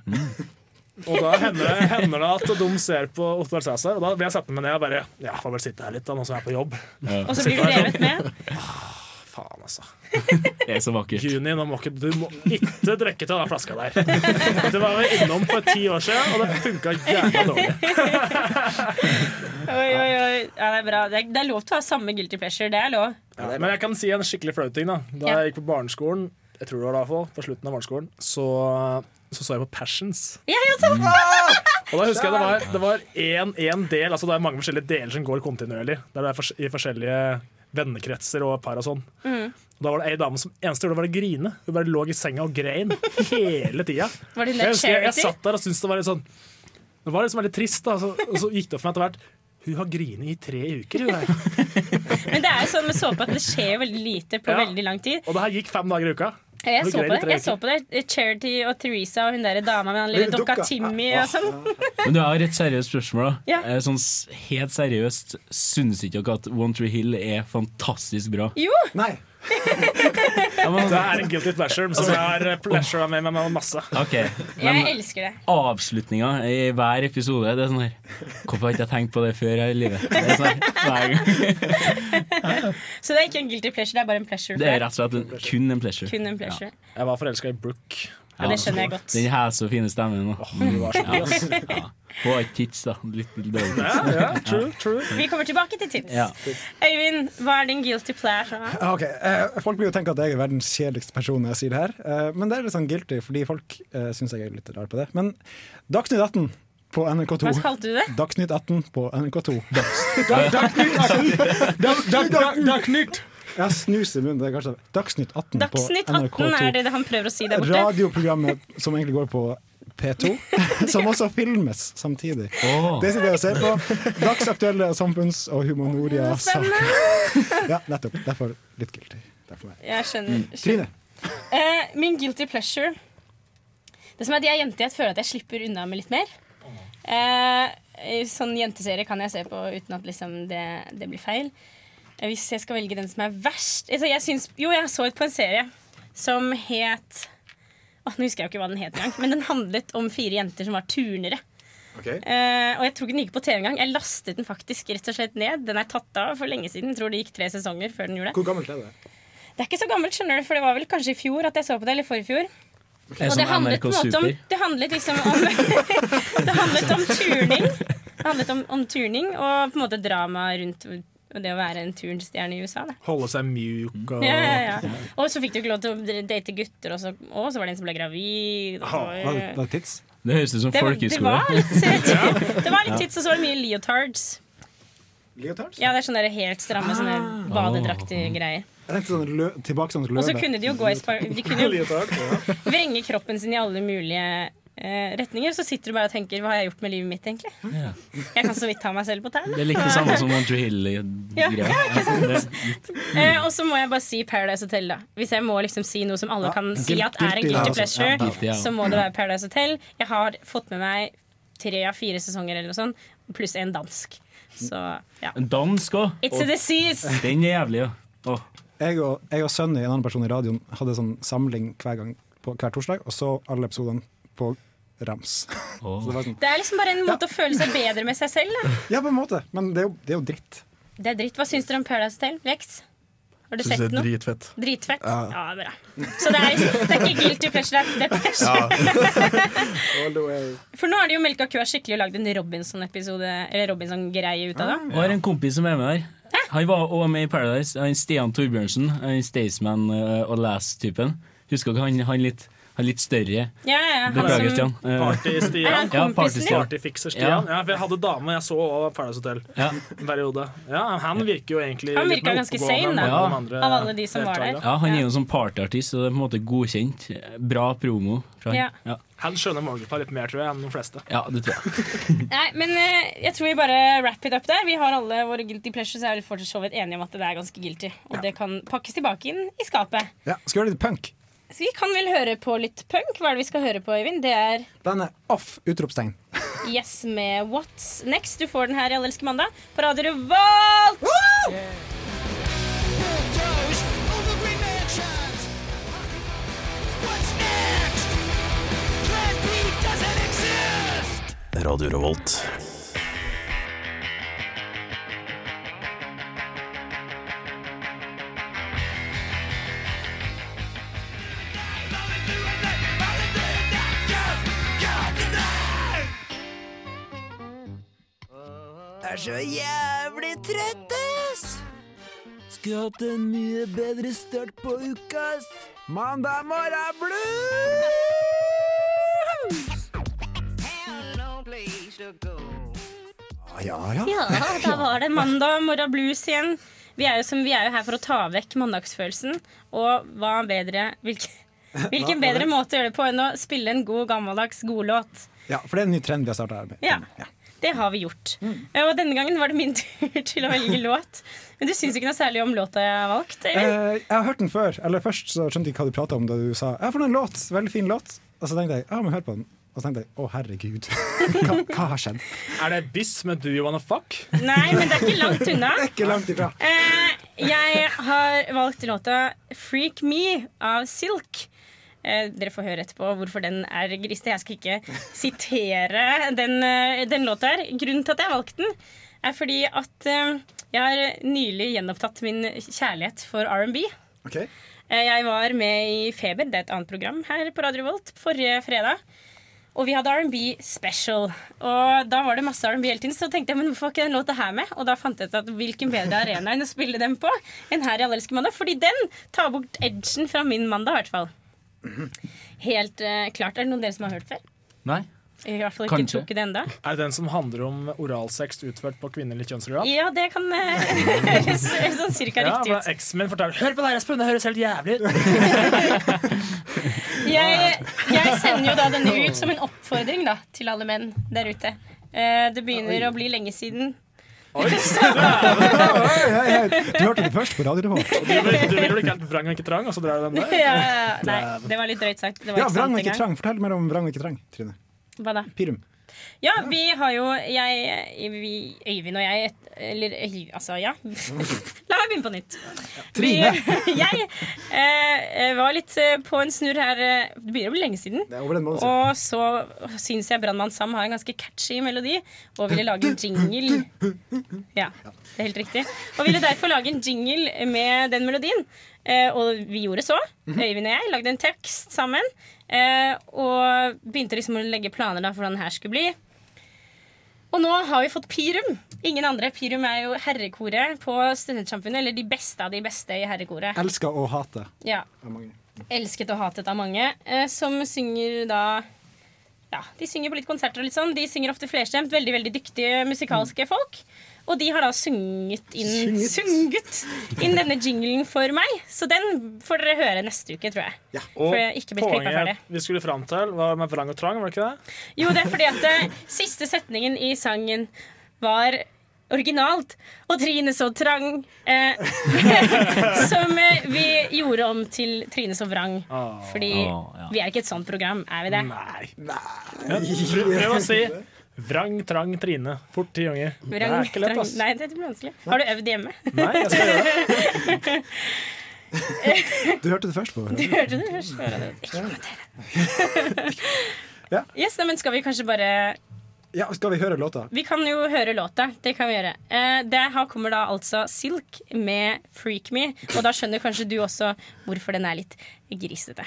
Speaker 5: Og da hender, det- hender det at de ser på Hotell Cæsar, og da blir jeg satt med ned og bare Ja, får vel sitte her litt, da, nå som jeg er på jobb.
Speaker 6: Ja.
Speaker 2: Og så blir du revet
Speaker 6: <laughs>
Speaker 2: med.
Speaker 5: Faen, altså.
Speaker 6: Det er så vakkert.
Speaker 5: Juni, nå må ikke, du må ikke drikke av den flaska der. Det var jeg innom for ti år siden, og det funka jævla dårlig.
Speaker 2: Oi, oi, oi. Ja, det er bra. Det er, det er lov til å ha samme guilty pleasure. Det er lov.
Speaker 5: Ja, men jeg kan si en skikkelig flau ting. Da Da
Speaker 2: Ja.
Speaker 5: jeg gikk på barneskolen, jeg tror det var da i hvert fall, på slutten av barneskolen, så så, så jeg på Passions.
Speaker 2: Ja, jeg også.
Speaker 5: Og da husker jeg Det var, det var én, én del, altså det er mange forskjellige deler som går kontinuerlig. Der det er fors I forskjellige vennekretser og par og sånn.
Speaker 2: Mm.
Speaker 5: Og Da var det ei dame som eneste gjorde, var å grine. Hun bare lå i senga og grein hele tida.
Speaker 2: Var det
Speaker 5: Jeg,
Speaker 2: Like
Speaker 5: husker jeg, jeg
Speaker 2: Charity?
Speaker 5: satt der og syntes det var litt sånn Det var liksom veldig trist, da. Så, og så gikk det opp for meg etter hvert. Hun har grinet i tre uker, hun der.
Speaker 6: Mm.
Speaker 2: Men det er jo sånn med såpe at det skjer jo veldig lite på
Speaker 5: Ja.
Speaker 2: veldig lang tid.
Speaker 5: Og det her gikk fem dager i uka.
Speaker 2: Jeg
Speaker 5: Du
Speaker 2: så,
Speaker 5: grein
Speaker 2: på
Speaker 5: i
Speaker 2: det.
Speaker 5: tre
Speaker 2: jeg så
Speaker 5: uker.
Speaker 2: på det. Charity og Teresa og hun der dama med den lille
Speaker 5: Lille
Speaker 2: dokka
Speaker 5: dukka.
Speaker 2: Timmy
Speaker 5: Ah,
Speaker 2: og sånn.
Speaker 6: Men du, jeg har et seriøst spørsmål. da
Speaker 2: Ja.
Speaker 6: Eh, Sånn s- Helt seriøst, syns ikke dere at One Tree Hill er fantastisk bra?
Speaker 2: Jo!
Speaker 4: Nei.
Speaker 5: Det er en guilty pleasure som jeg har pleasure med meg masse.
Speaker 6: Ok,
Speaker 2: Jeg
Speaker 6: men
Speaker 2: elsker det.
Speaker 6: Avslutninga i hver episode Det er sånn her Hvorfor har ikke jeg tenkt på det før her i livet? Det er sånn her, hver gang.
Speaker 2: Så det er ikke en guilty pleasure, det er bare en pleasure.
Speaker 6: Det er rett og slett en, kun en pleasure.
Speaker 2: Kun en pleasure.
Speaker 5: Jeg var forelska i Brooke.
Speaker 2: Ja, det skjønner jeg godt.
Speaker 6: Den hese og fine stemmen. da.
Speaker 5: hun var så god, ass.
Speaker 6: Ja. Hun har ikke tits, da. Litt dårlig.
Speaker 5: Ja, ja, true, true.
Speaker 2: Vi kommer tilbake til tips.
Speaker 6: Ja.
Speaker 2: Øyvind, hva er din guilty pleasure?
Speaker 4: Ah, ok. Eh, folk blir jo tenke at jeg er verdens kjedeligste person når jeg sier det her, eh, men det er litt sånn guilty, fordi folk eh, syns jeg er litt rar på det. Men Dagsnytt 18 på NRK2.
Speaker 2: Hva kalte du det?
Speaker 4: Dagsnytt 18 på NRK2.
Speaker 5: Dag-
Speaker 4: Dagsnytt 18! Dagsnytt! Jeg har snus i munnen. Det er kanskje Dagsnytt 18
Speaker 2: Dagsnytt
Speaker 4: på NRK2.
Speaker 2: 18 er det det han prøver å si der borte.
Speaker 4: Radioprogrammet som egentlig går på P2,
Speaker 2: <laughs>
Speaker 4: som også filmes samtidig.
Speaker 6: Åh.
Speaker 4: Det sitter jeg og ser på. Dagsaktuelle samfunns- og humanoria-saker. Ja, nettopp. Derfor litt guilty. Derfor meg.
Speaker 2: Jeg skjønner.
Speaker 4: Trine.
Speaker 2: Eh, min guilty pleasure Det som er at jeg er jente, jeg føler at jeg slipper unna med litt mer. Eh, sånn jenteserie kan jeg se på uten at liksom det, det blir feil. Eh, Hvis jeg skal velge den som er verst altså jeg syns, Jo, jeg så et på en serie som het Åh, Nå husker jeg jo ikke hva den het engang, men den handlet om fire jenter som var turnere. Eh, og jeg tror ikke den gikk på TV engang. Jeg lastet den faktisk rett og slett ned. Den er tatt av for lenge siden. Tror det gikk tre sesonger før den gjorde det.
Speaker 4: Hvor gammelt er det?
Speaker 2: Det er ikke så gammelt, skjønner du, for det var vel kanskje i fjor at jeg så på det, eller forrige fjor.
Speaker 6: Er det
Speaker 2: Og
Speaker 6: sånn
Speaker 2: det handlet, på en
Speaker 6: NRK
Speaker 2: måte om,
Speaker 6: Super?
Speaker 2: det handlet liksom om Det handlet om <laughs> turning. Det handlet om, om turning og på en måte drama rundt det å være en turnstjerne i USA. Da.
Speaker 5: Holde seg mjuk og
Speaker 2: Ja, ja, ja. Og så fikk du ikke lov til å date gutter, og så, og så var det en som ble gravid. Og så,
Speaker 4: tits?
Speaker 6: Det høres ut som
Speaker 2: det, var- det
Speaker 6: folkehøyskole.
Speaker 2: var
Speaker 6: <laughs>
Speaker 2: litt, det var
Speaker 6: Ja.
Speaker 2: litt tids, og så var det mye leotards.
Speaker 4: Leotards?
Speaker 2: Ja, det er sånne der helt stramme sånne
Speaker 6: Ah.
Speaker 2: badedraktige greier.
Speaker 4: Jeg tenkte sånn lø tilbake sånn løve.
Speaker 2: Og så kunne de jo gå i spar... De kunne jo
Speaker 4: Leotard, ja.
Speaker 2: vrenge kroppen sin i alle mulige eh, retninger, så sitter du bare og tenker hva har jeg gjort med livet mitt, egentlig?
Speaker 6: Ja.
Speaker 2: Jeg kan så vidt ta meg selv på tærne.
Speaker 6: Det er litt det samme som One Tree Hill-greia.
Speaker 2: Ja, ikke sant?
Speaker 6: Det er litt-
Speaker 2: Eh, og så må jeg bare si Paradise Hotel, da. Hvis jeg må liksom si noe som alle
Speaker 6: Ja,
Speaker 2: kan
Speaker 6: guilt-
Speaker 2: si at er en
Speaker 6: guilty,
Speaker 2: guilty
Speaker 6: ja,
Speaker 2: pleasure,
Speaker 6: altså. Ja, guilty, ja.
Speaker 2: så må det være Paradise Hotel. Jeg har fått med meg tre av fire sesonger eller noe sånt, pluss en dansk. Så ja.
Speaker 6: En dansk òg.
Speaker 2: It's a disease!
Speaker 6: Den er jævlig, ja. Åh.
Speaker 4: Jeg og, jeg og Sunny, en annen person i radioen, hadde sånn samling hver gang på hver torsdag, og så alle episodene på rams. Så det var sånn,
Speaker 2: Det er liksom bare en måte å føle seg bedre med seg selv, da.
Speaker 4: ja, på en måte, men det er jo, det er jo dritt.
Speaker 2: Det er dritt. Hva syns dere om Paradise Hotel, Lex? Har du
Speaker 7: Synes
Speaker 2: sett
Speaker 7: det er
Speaker 2: noe?
Speaker 7: dritfett.
Speaker 2: Dritfett? Ja,
Speaker 7: Ja.
Speaker 2: bra. Så det er, det er ikke guilty pleasure, det er pleasure. For nå har de jo melka kua skikkelig og lagd en Robinson-episode Eller Robinson-greie ut av det.
Speaker 6: Og jeg har en kompis som er med der. Han var også med i Paradise. Han Stian Torbjørnsen. Han Staysman eh, og Last-typen. Husker dere han, han litt han litt større?
Speaker 2: Ja, ja, ja.
Speaker 6: Beklager, Stian. Eh,
Speaker 5: Party-Stian.
Speaker 2: <laughs>
Speaker 6: Ja, Party-Stian. Ja.
Speaker 5: Partyfikser-Stian. Ja, for jeg hadde dame jeg så og Paradise Hotel
Speaker 6: Ja.
Speaker 5: en periode. Ja, han virker jo egentlig
Speaker 2: Han
Speaker 5: litt
Speaker 2: virka
Speaker 5: mer
Speaker 2: ganske
Speaker 5: oppegående
Speaker 2: sane,
Speaker 5: enn
Speaker 2: da,
Speaker 5: mange andre
Speaker 2: av alle de som var der.
Speaker 5: deltakere.
Speaker 6: Ja, han er jo en sånn partyartist, så det er på en måte godkjent. Bra promo fra han.
Speaker 2: Ja.
Speaker 6: Ja.
Speaker 5: Han skjønner målgruppa litt mer, tror jeg, enn de fleste.
Speaker 6: ja, det tror jeg.
Speaker 2: Nei, men eh, jeg tror vi bare wrap it up der. Vi har alle våre guilty pleasures. Jeg er vel for så vidt enige om at det er ganske guilty. Og det kan pakkes tilbake inn i skapet.
Speaker 4: Ja, skal vi gjøre litt punk?
Speaker 2: Så vi kan vel høre på litt punk. Hva er det vi skal høre på, Øyvind? Det er
Speaker 4: Bandet Off! Utropstegn.
Speaker 2: Yes med What's Next. Du får den her i Allelske mandag på Radio Revolt!
Speaker 3: Radio Revolt.
Speaker 12: er så jævlig trøtt, ass! Skulle hatt en mye bedre start på uka, ass. Mandag morgen er blues!
Speaker 4: Ah,
Speaker 10: Ja, ja.
Speaker 2: <laughs> Ja, da var det mandag morgen blues igjen. Vi er, jo som, vi er jo her for å ta vekk mandagsfølelsen. Og hva bedre <laughs> Hvilken, hvilken
Speaker 4: Hva er
Speaker 2: bedre
Speaker 4: det?
Speaker 2: måte å gjøre det på enn å spille en god, gammeldags godlåt?
Speaker 4: Ja, for det er en ny trend vi har starta her med.
Speaker 2: Ja, Mm. det har vi gjort. Eh, Og denne gangen var det min tur <laughs> til å velge låt. Men du syns ikke noe særlig om låta jeg har valgt?
Speaker 4: Eh,
Speaker 2: Eller?
Speaker 4: jeg har hørt den før, eller først så skjønte jeg ikke hva du prata om da du sa ja, for en låt, veldig fin låt. Og så tenkte jeg ja, men hør på den. Og så tenkte jeg å
Speaker 2: <laughs>
Speaker 4: herregud, hva, hva har skjedd?
Speaker 5: Er det Biss med Do You Wanna Fuck?
Speaker 2: Nei, men det er ikke langt unna. <laughs>
Speaker 4: Det er ikke langt ifra.
Speaker 2: Eh, jeg har valgt låta 'Freak Me' av Silk. Eh, dere får høre etterpå hvorfor den er griste. Jeg skal ikke sitere den, eh, den låta her. Grunnen til at jeg valgte den, er fordi at eh, jeg har nylig gjenopptatt min kjærlighet for R&B.
Speaker 4: Ok.
Speaker 2: Eh, jeg var med i Feber, det er et annet program her på Radio Volt, forrige fredag. Og vi hadde R&B special. Og da var det masse R&B hele tiden, så tenkte jeg men hvorfor var ikke den låta her med? Og da fant jeg ut at hvilken bedre arena enn å spille den på enn her i Allelske mandag. Fordi den tar bort edgen fra min mandag, i hvert fall. Helt eh, klart. Er det noen av dere som har hørt før?
Speaker 6: Nei.
Speaker 2: I hvert fall ikke
Speaker 5: Kanskje.
Speaker 2: tok det enda.
Speaker 5: Er det den som handler om oralsex utført på kvinnelig kjønnsorgan?
Speaker 2: Ja, det kan eh, <laughs> høres sånn cirka
Speaker 5: Ja,
Speaker 2: riktig
Speaker 5: for
Speaker 2: ut.
Speaker 5: Eksmenn forteller Hør på deg, Espen, det høres helt jævlig ut!
Speaker 2: <laughs> Jeg, jeg sender jo da denne ut som en oppfordring da, til alle menn der ute. Eh, det begynner å bli lenge siden. <laughs>
Speaker 4: Hei, hei, hei. eh, Du hørte det først på Radio
Speaker 2: <laughs>
Speaker 4: Revolt.
Speaker 5: Du vil- du vil jo ikke helt vrang og ikke trang, og så drar du den
Speaker 2: Ja,
Speaker 5: der?
Speaker 2: ja,
Speaker 4: <laughs>
Speaker 2: ja. nei, det var litt drøyt sagt. Det var ikke
Speaker 4: Ja,
Speaker 2: sant
Speaker 4: Vrang og ikke
Speaker 2: engang.
Speaker 4: trang. Fortell mer om Vrang og ikke trang, Trine.
Speaker 2: Hva da?
Speaker 4: Pirum.
Speaker 2: Ja, vi har jo jeg, vi, Øyvind og jeg et, Eller Øy- altså, ja. <laughs> La meg begynne på nytt.
Speaker 4: Mm. Trine.
Speaker 2: Vi, <laughs> jeg eh, var litt eh, på en snurr her eh, Det begynner å bli lenge siden.
Speaker 4: Det er over en måned siden.
Speaker 2: Og så syns jeg Brannmann Sam har en ganske catchy melodi, og ville lage en jingle. Ja, det er helt riktig. Og ville derfor lage en jingle med den melodien. Eh, og vi gjorde så. Øyvind og jeg lagde en tekst sammen. eh, og begynte liksom å legge planer da for hvordan det her skulle bli. Og nå har vi fått Pirum. Ingen andre. Pirum er jo herrekoret på Studentsamfunnet. Eller de beste av de beste i herrekoret.
Speaker 4: Elsker og hater.
Speaker 2: Ja,
Speaker 4: av mange.
Speaker 2: elsket og hatet av mange, eh, som synger da
Speaker 4: Mm.
Speaker 2: Ja, de synger på litt konserter og litt sånn. De synger ofte flerstemt. Veldig, veldig dyktige musikalske folk. Og de har da sunget inn,
Speaker 12: Sunget.
Speaker 2: sunget inn denne jinglen for meg. Så den får dere høre neste uke, tror jeg.
Speaker 5: Og
Speaker 2: For jeg er ikke blitt klippa ferdig.
Speaker 5: poenget vi skulle fram til, var med vrang og trang, var det ikke det?
Speaker 2: Jo, det er fordi at eh, siste setningen i sangen var originalt. Og Trine så trang. Eh, <laughs> som eh, vi gjorde om til Trine så vrang.
Speaker 5: Ah.
Speaker 2: Fordi
Speaker 5: Åh, ja.
Speaker 2: vi er ikke et sånt program, er vi det?
Speaker 5: Nei. Ja, prøv, prøv å si vrang, trang, Trine. Fort ti ganger. Det
Speaker 2: Vrang,
Speaker 5: er ikke lett,
Speaker 2: trang.
Speaker 5: ass.
Speaker 2: Nei, det blir vanskelig. Har du øvd hjemme? <laughs>
Speaker 5: Nei, jeg skal gjøre det.
Speaker 4: <laughs> Du hørte det først på.
Speaker 2: Du hørte det først. Hører det. Ikke kommentere. <laughs> Yes, nei, men skal vi kanskje bare
Speaker 4: Ja, skal vi høre låta?
Speaker 2: Vi kan jo høre låta. Det kan vi gjøre. Eh, det her kommer da altså Silk med 'Freak Me'. Og da skjønner kanskje du også hvorfor den er litt grisete.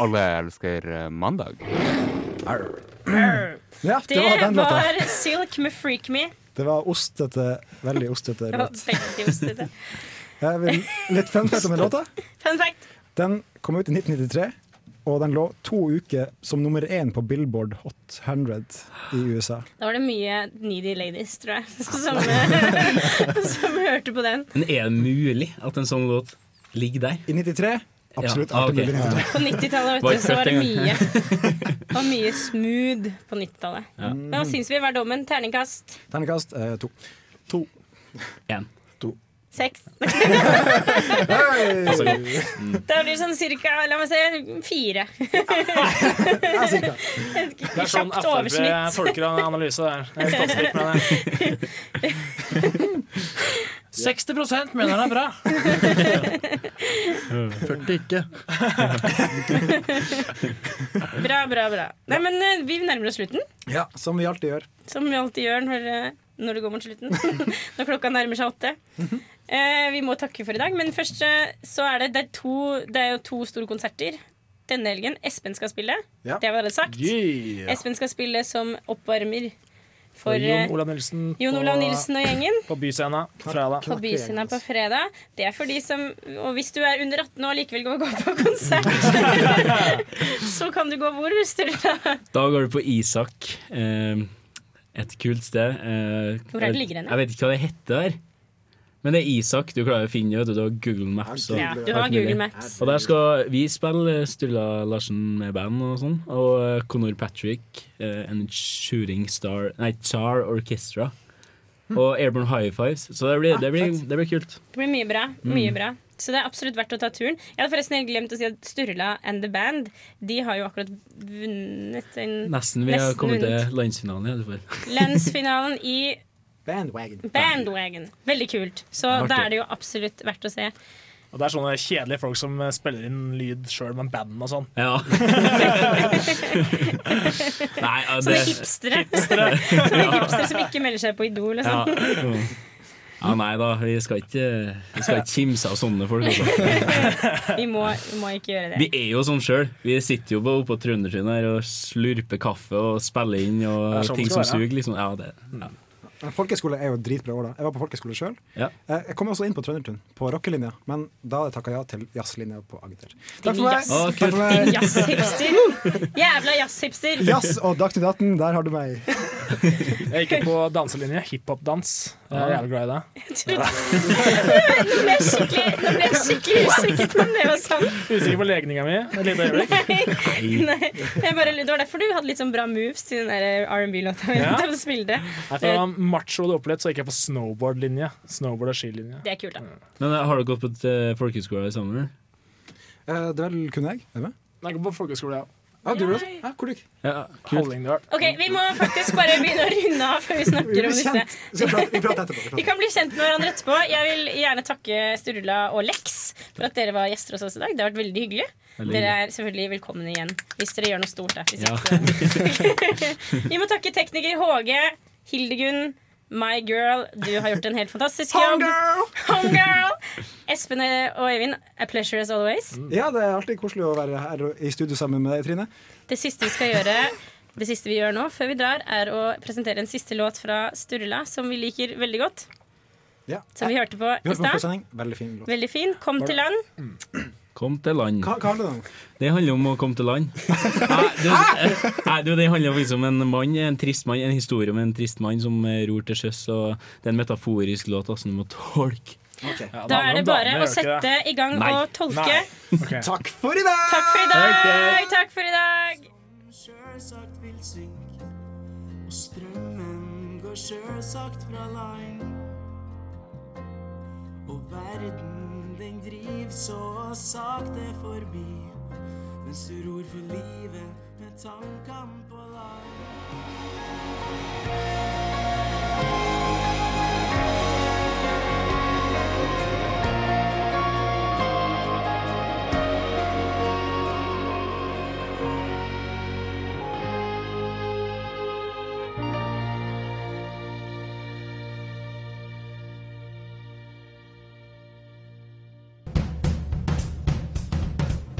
Speaker 15: Alle elsker eh, mandag.
Speaker 4: Ja, det var
Speaker 2: Det
Speaker 4: den låta.
Speaker 2: var Silk med 'Freak Me'.
Speaker 4: Det var ostete, veldig ostete
Speaker 2: Det var
Speaker 4: låt.
Speaker 2: veldig ostete.
Speaker 4: Jeg vil, litt fun fact om den låta.
Speaker 2: Fun fact.
Speaker 4: Den kom ut i 1993, og den lå to uker som nummer én på Billboard Hot 100 i USA.
Speaker 2: Da var det mye needy ladies, tror jeg, <laughs>
Speaker 4: <laughs>
Speaker 2: som, eh, som hørte på den.
Speaker 6: Men er det mulig at en sånn låt ligger der?
Speaker 4: I 93? Absolutt, alt er mulig i 93.
Speaker 2: På 90-tallet vet
Speaker 6: Var ikke
Speaker 2: du, så
Speaker 6: født
Speaker 2: var det
Speaker 6: engang.
Speaker 4: <laughs>
Speaker 2: mye. Det var mye smooth på 90-tallet.
Speaker 4: Ja.
Speaker 2: Men hva syns vi? Hva er dommen? Terningkast
Speaker 4: Terningkast eh, to. To.
Speaker 6: Én.
Speaker 4: To.
Speaker 2: <laughs> seks?
Speaker 4: Passer
Speaker 2: da
Speaker 4: godt.
Speaker 2: blir det sånn cirka La meg se fire.
Speaker 5: Det er sånn
Speaker 2: Kjapt
Speaker 5: FrP
Speaker 2: oversnitt.
Speaker 5: tolker an- analyse der. Det er statistikk med det.
Speaker 2: <laughs>
Speaker 5: 60 mener han er bra.
Speaker 7: 40 ikke.
Speaker 2: Bra, bra, bra. Nei, men eh, vi nærmer oss slutten,
Speaker 4: Ja, som vi alltid gjør.
Speaker 2: som vi alltid gjør når, eh, når det går mot slutten. <laughs> når klokka nærmer seg åtte. Eh, vi må takke for i dag, men først eh, så er det, det, er to, det er jo to store konserter denne helgen. Espen skal spille.
Speaker 5: Ja.
Speaker 2: Det var det sagt.
Speaker 5: Yeah.
Speaker 2: Espen skal spille som oppvarmer for
Speaker 5: For Jon
Speaker 2: eh,
Speaker 5: Olav Nilsen
Speaker 2: Jon Olav Nilsen og gjengen.
Speaker 5: På Byscena på fredag.
Speaker 2: på Byscena på fredag. Det er for de som Og hvis du er under 18 og likevel går gå på konsert, <laughs> så kan du gå hvor, Sturla.
Speaker 6: Da går du på Isak. Eh, et kult sted. Eh,
Speaker 2: Hvor er det ligger hen?
Speaker 6: Jeg vet ikke hva det heter der. Men det er Isak. Du klarer å finne det. vet Du Du har Google Maps. og
Speaker 2: Ja, du har
Speaker 6: alt mulig.
Speaker 2: Google Maps.
Speaker 6: Og der skal vi spille Sturla Larsen med band og sånn. Og eh, Conor Patrick eh, and Shooting Star Nei, Char Orchestra. Og Airborne High Fives. Så det blir, det blir, det blir kult.
Speaker 2: Det blir mye bra. Mye
Speaker 6: Mm.
Speaker 2: bra. Så det er absolutt verdt å ta turen. Jeg hadde forresten helt glemt å si at Sturla and the Band De har jo akkurat vunnet en
Speaker 6: Nesten. Vi har kommet
Speaker 2: vunnet
Speaker 6: til landsfinalen i
Speaker 2: <laughs>
Speaker 6: alle fall.
Speaker 2: Landsfinalen i
Speaker 6: <laughs>
Speaker 4: Bandwagon.
Speaker 2: Bandwagon. Veldig kult. Så
Speaker 5: Artig.
Speaker 2: da er det jo absolutt verdt å se.
Speaker 5: Og det er sånne kjedelige folk som eh, spiller inn lyd sjøl med band og sånn.
Speaker 2: <laughs>
Speaker 6: Ja. Nei, ja,
Speaker 2: Sånne
Speaker 6: det-
Speaker 2: hipstere.
Speaker 6: Hipstere.
Speaker 2: <laughs> Sånne
Speaker 6: Ja.
Speaker 2: hipstere som ikke melder seg på Idol. Og
Speaker 6: Ja.
Speaker 2: sånn.
Speaker 6: ja, nei da. Vi skal ikke Vi skal ikke kimse av sånne folk. Altså.
Speaker 2: Vi, må, vi må ikke gjøre det.
Speaker 6: Vi er jo sånn sjøl. Vi sitter jo på- oppå Trøndersund her og slurper kaffe og spiller inn og
Speaker 4: Det er sånn
Speaker 6: ting
Speaker 4: det
Speaker 6: som
Speaker 4: skal
Speaker 6: suger.
Speaker 4: være. Mm.
Speaker 6: Liksom. Ja, det, ja.
Speaker 4: Men Folkeskole er jo et dritbra år, da. Jeg var på folkeskole sjøl.
Speaker 6: Ja.
Speaker 4: Jeg kom også inn på Trøndertun, på rockelinja, men da hadde jeg takka ja til jazzlinja på Agder.
Speaker 2: Din
Speaker 4: Takk for meg!
Speaker 2: jazz-
Speaker 4: Takk for
Speaker 2: Din
Speaker 4: meg.
Speaker 2: jazzhipster. Jævla jazzhipster. <laughs>
Speaker 4: Jazz og Dagsnytt 18, der har du meg.
Speaker 5: Jeg gikk jo på
Speaker 2: <laughs>
Speaker 5: danselinje. Hiphop-dans. Jeg er jævlig glad i det.
Speaker 2: Nå ble jeg skikkelig, nå ble jeg skikkelig usikker på om det var sant.
Speaker 5: Usikker på legninga mi et
Speaker 2: <laughs>
Speaker 5: lite øyeblikk.
Speaker 2: Nei, jeg bare, det var derfor du hadde litt sånn bra moves til den der R&B-låta. vi
Speaker 5: Ja.
Speaker 2: til å spille det.
Speaker 5: Jeg fra macho og dopelett, så gikk jeg på snowboard-linje. Snowboard og skilinje.
Speaker 2: Det er kult, da.
Speaker 6: Men eh, har dere gått på et, eh, folkehøyskole sammen?
Speaker 4: Eh, Det vel kunne jeg. Er du med?
Speaker 5: Jeg går på folkehøyskole, ja.
Speaker 4: Ja, du gjorde det? også? Ja, hvor gikk
Speaker 6: Ja,
Speaker 5: Hallingdal.
Speaker 2: Ok, Vi må faktisk bare begynne å runde av før vi
Speaker 4: Vi
Speaker 2: snakker om
Speaker 4: blir
Speaker 2: disse.
Speaker 4: kjent. Vi skal prate- vi prater etterpå. Vi prater.
Speaker 2: Vi kan bli kjent med hverandre etterpå. Jeg vil gjerne takke Sturla og Lex for at dere var gjester hos oss i dag. Det har vært veldig hyggelig.
Speaker 6: Veldig
Speaker 2: Dere er selvfølgelig velkomne igjen hvis dere gjør noe stort der. Hvis
Speaker 6: Ja.
Speaker 2: ikke, så- Vi må takke tekniker HG, Hildegunn, My girl, du har gjort en helt fantastisk jobb. Homegirl! Espen og Øyvind, a pleasure as always.
Speaker 4: Ja, det er alltid koselig å være her i studio sammen med deg, Trine.
Speaker 2: Det siste vi skal gjøre Det siste vi gjør nå før vi drar, er å presentere en siste låt fra Sturla, som vi liker veldig godt.
Speaker 4: Ja.
Speaker 2: Som vi hørte på i
Speaker 4: Vi hørte på
Speaker 2: stad.
Speaker 4: første sending. Veldig fin låt.
Speaker 2: Veldig fin. Kom
Speaker 6: Var det-
Speaker 2: til land.
Speaker 6: Kom til land.
Speaker 4: Hva, hva handler det om?
Speaker 6: Det handler om å komme til
Speaker 4: <laughs>
Speaker 6: land. Nei, det, nei, du, det handler om liksom en mann, en trist mann, en historie om en trist mann som eh, ror til sjøs. Og det er en metaforisk låt altså, du må tolke.
Speaker 2: Da er det bare å sette i gang
Speaker 6: Nei.
Speaker 2: og tolke.
Speaker 4: Takk for i dag!
Speaker 2: Takk for i
Speaker 6: Takk,
Speaker 2: dag!
Speaker 6: takk.
Speaker 2: Takk for i dag!
Speaker 12: Sjølsagt vil synke, og strømmen går sjølsagt fra land. Og verden, den driv så sakte forbi, mens du ror for livet med tankene på land.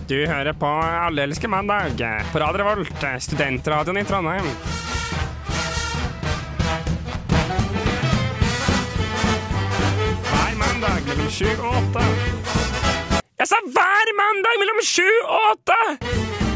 Speaker 16: Du hører på Alle elsker mandag på Radio Revolt, studentradioen i Trondheim. Hver mandag mellom sju og åtte. Jeg sa hver mandag mellom sju og åtte!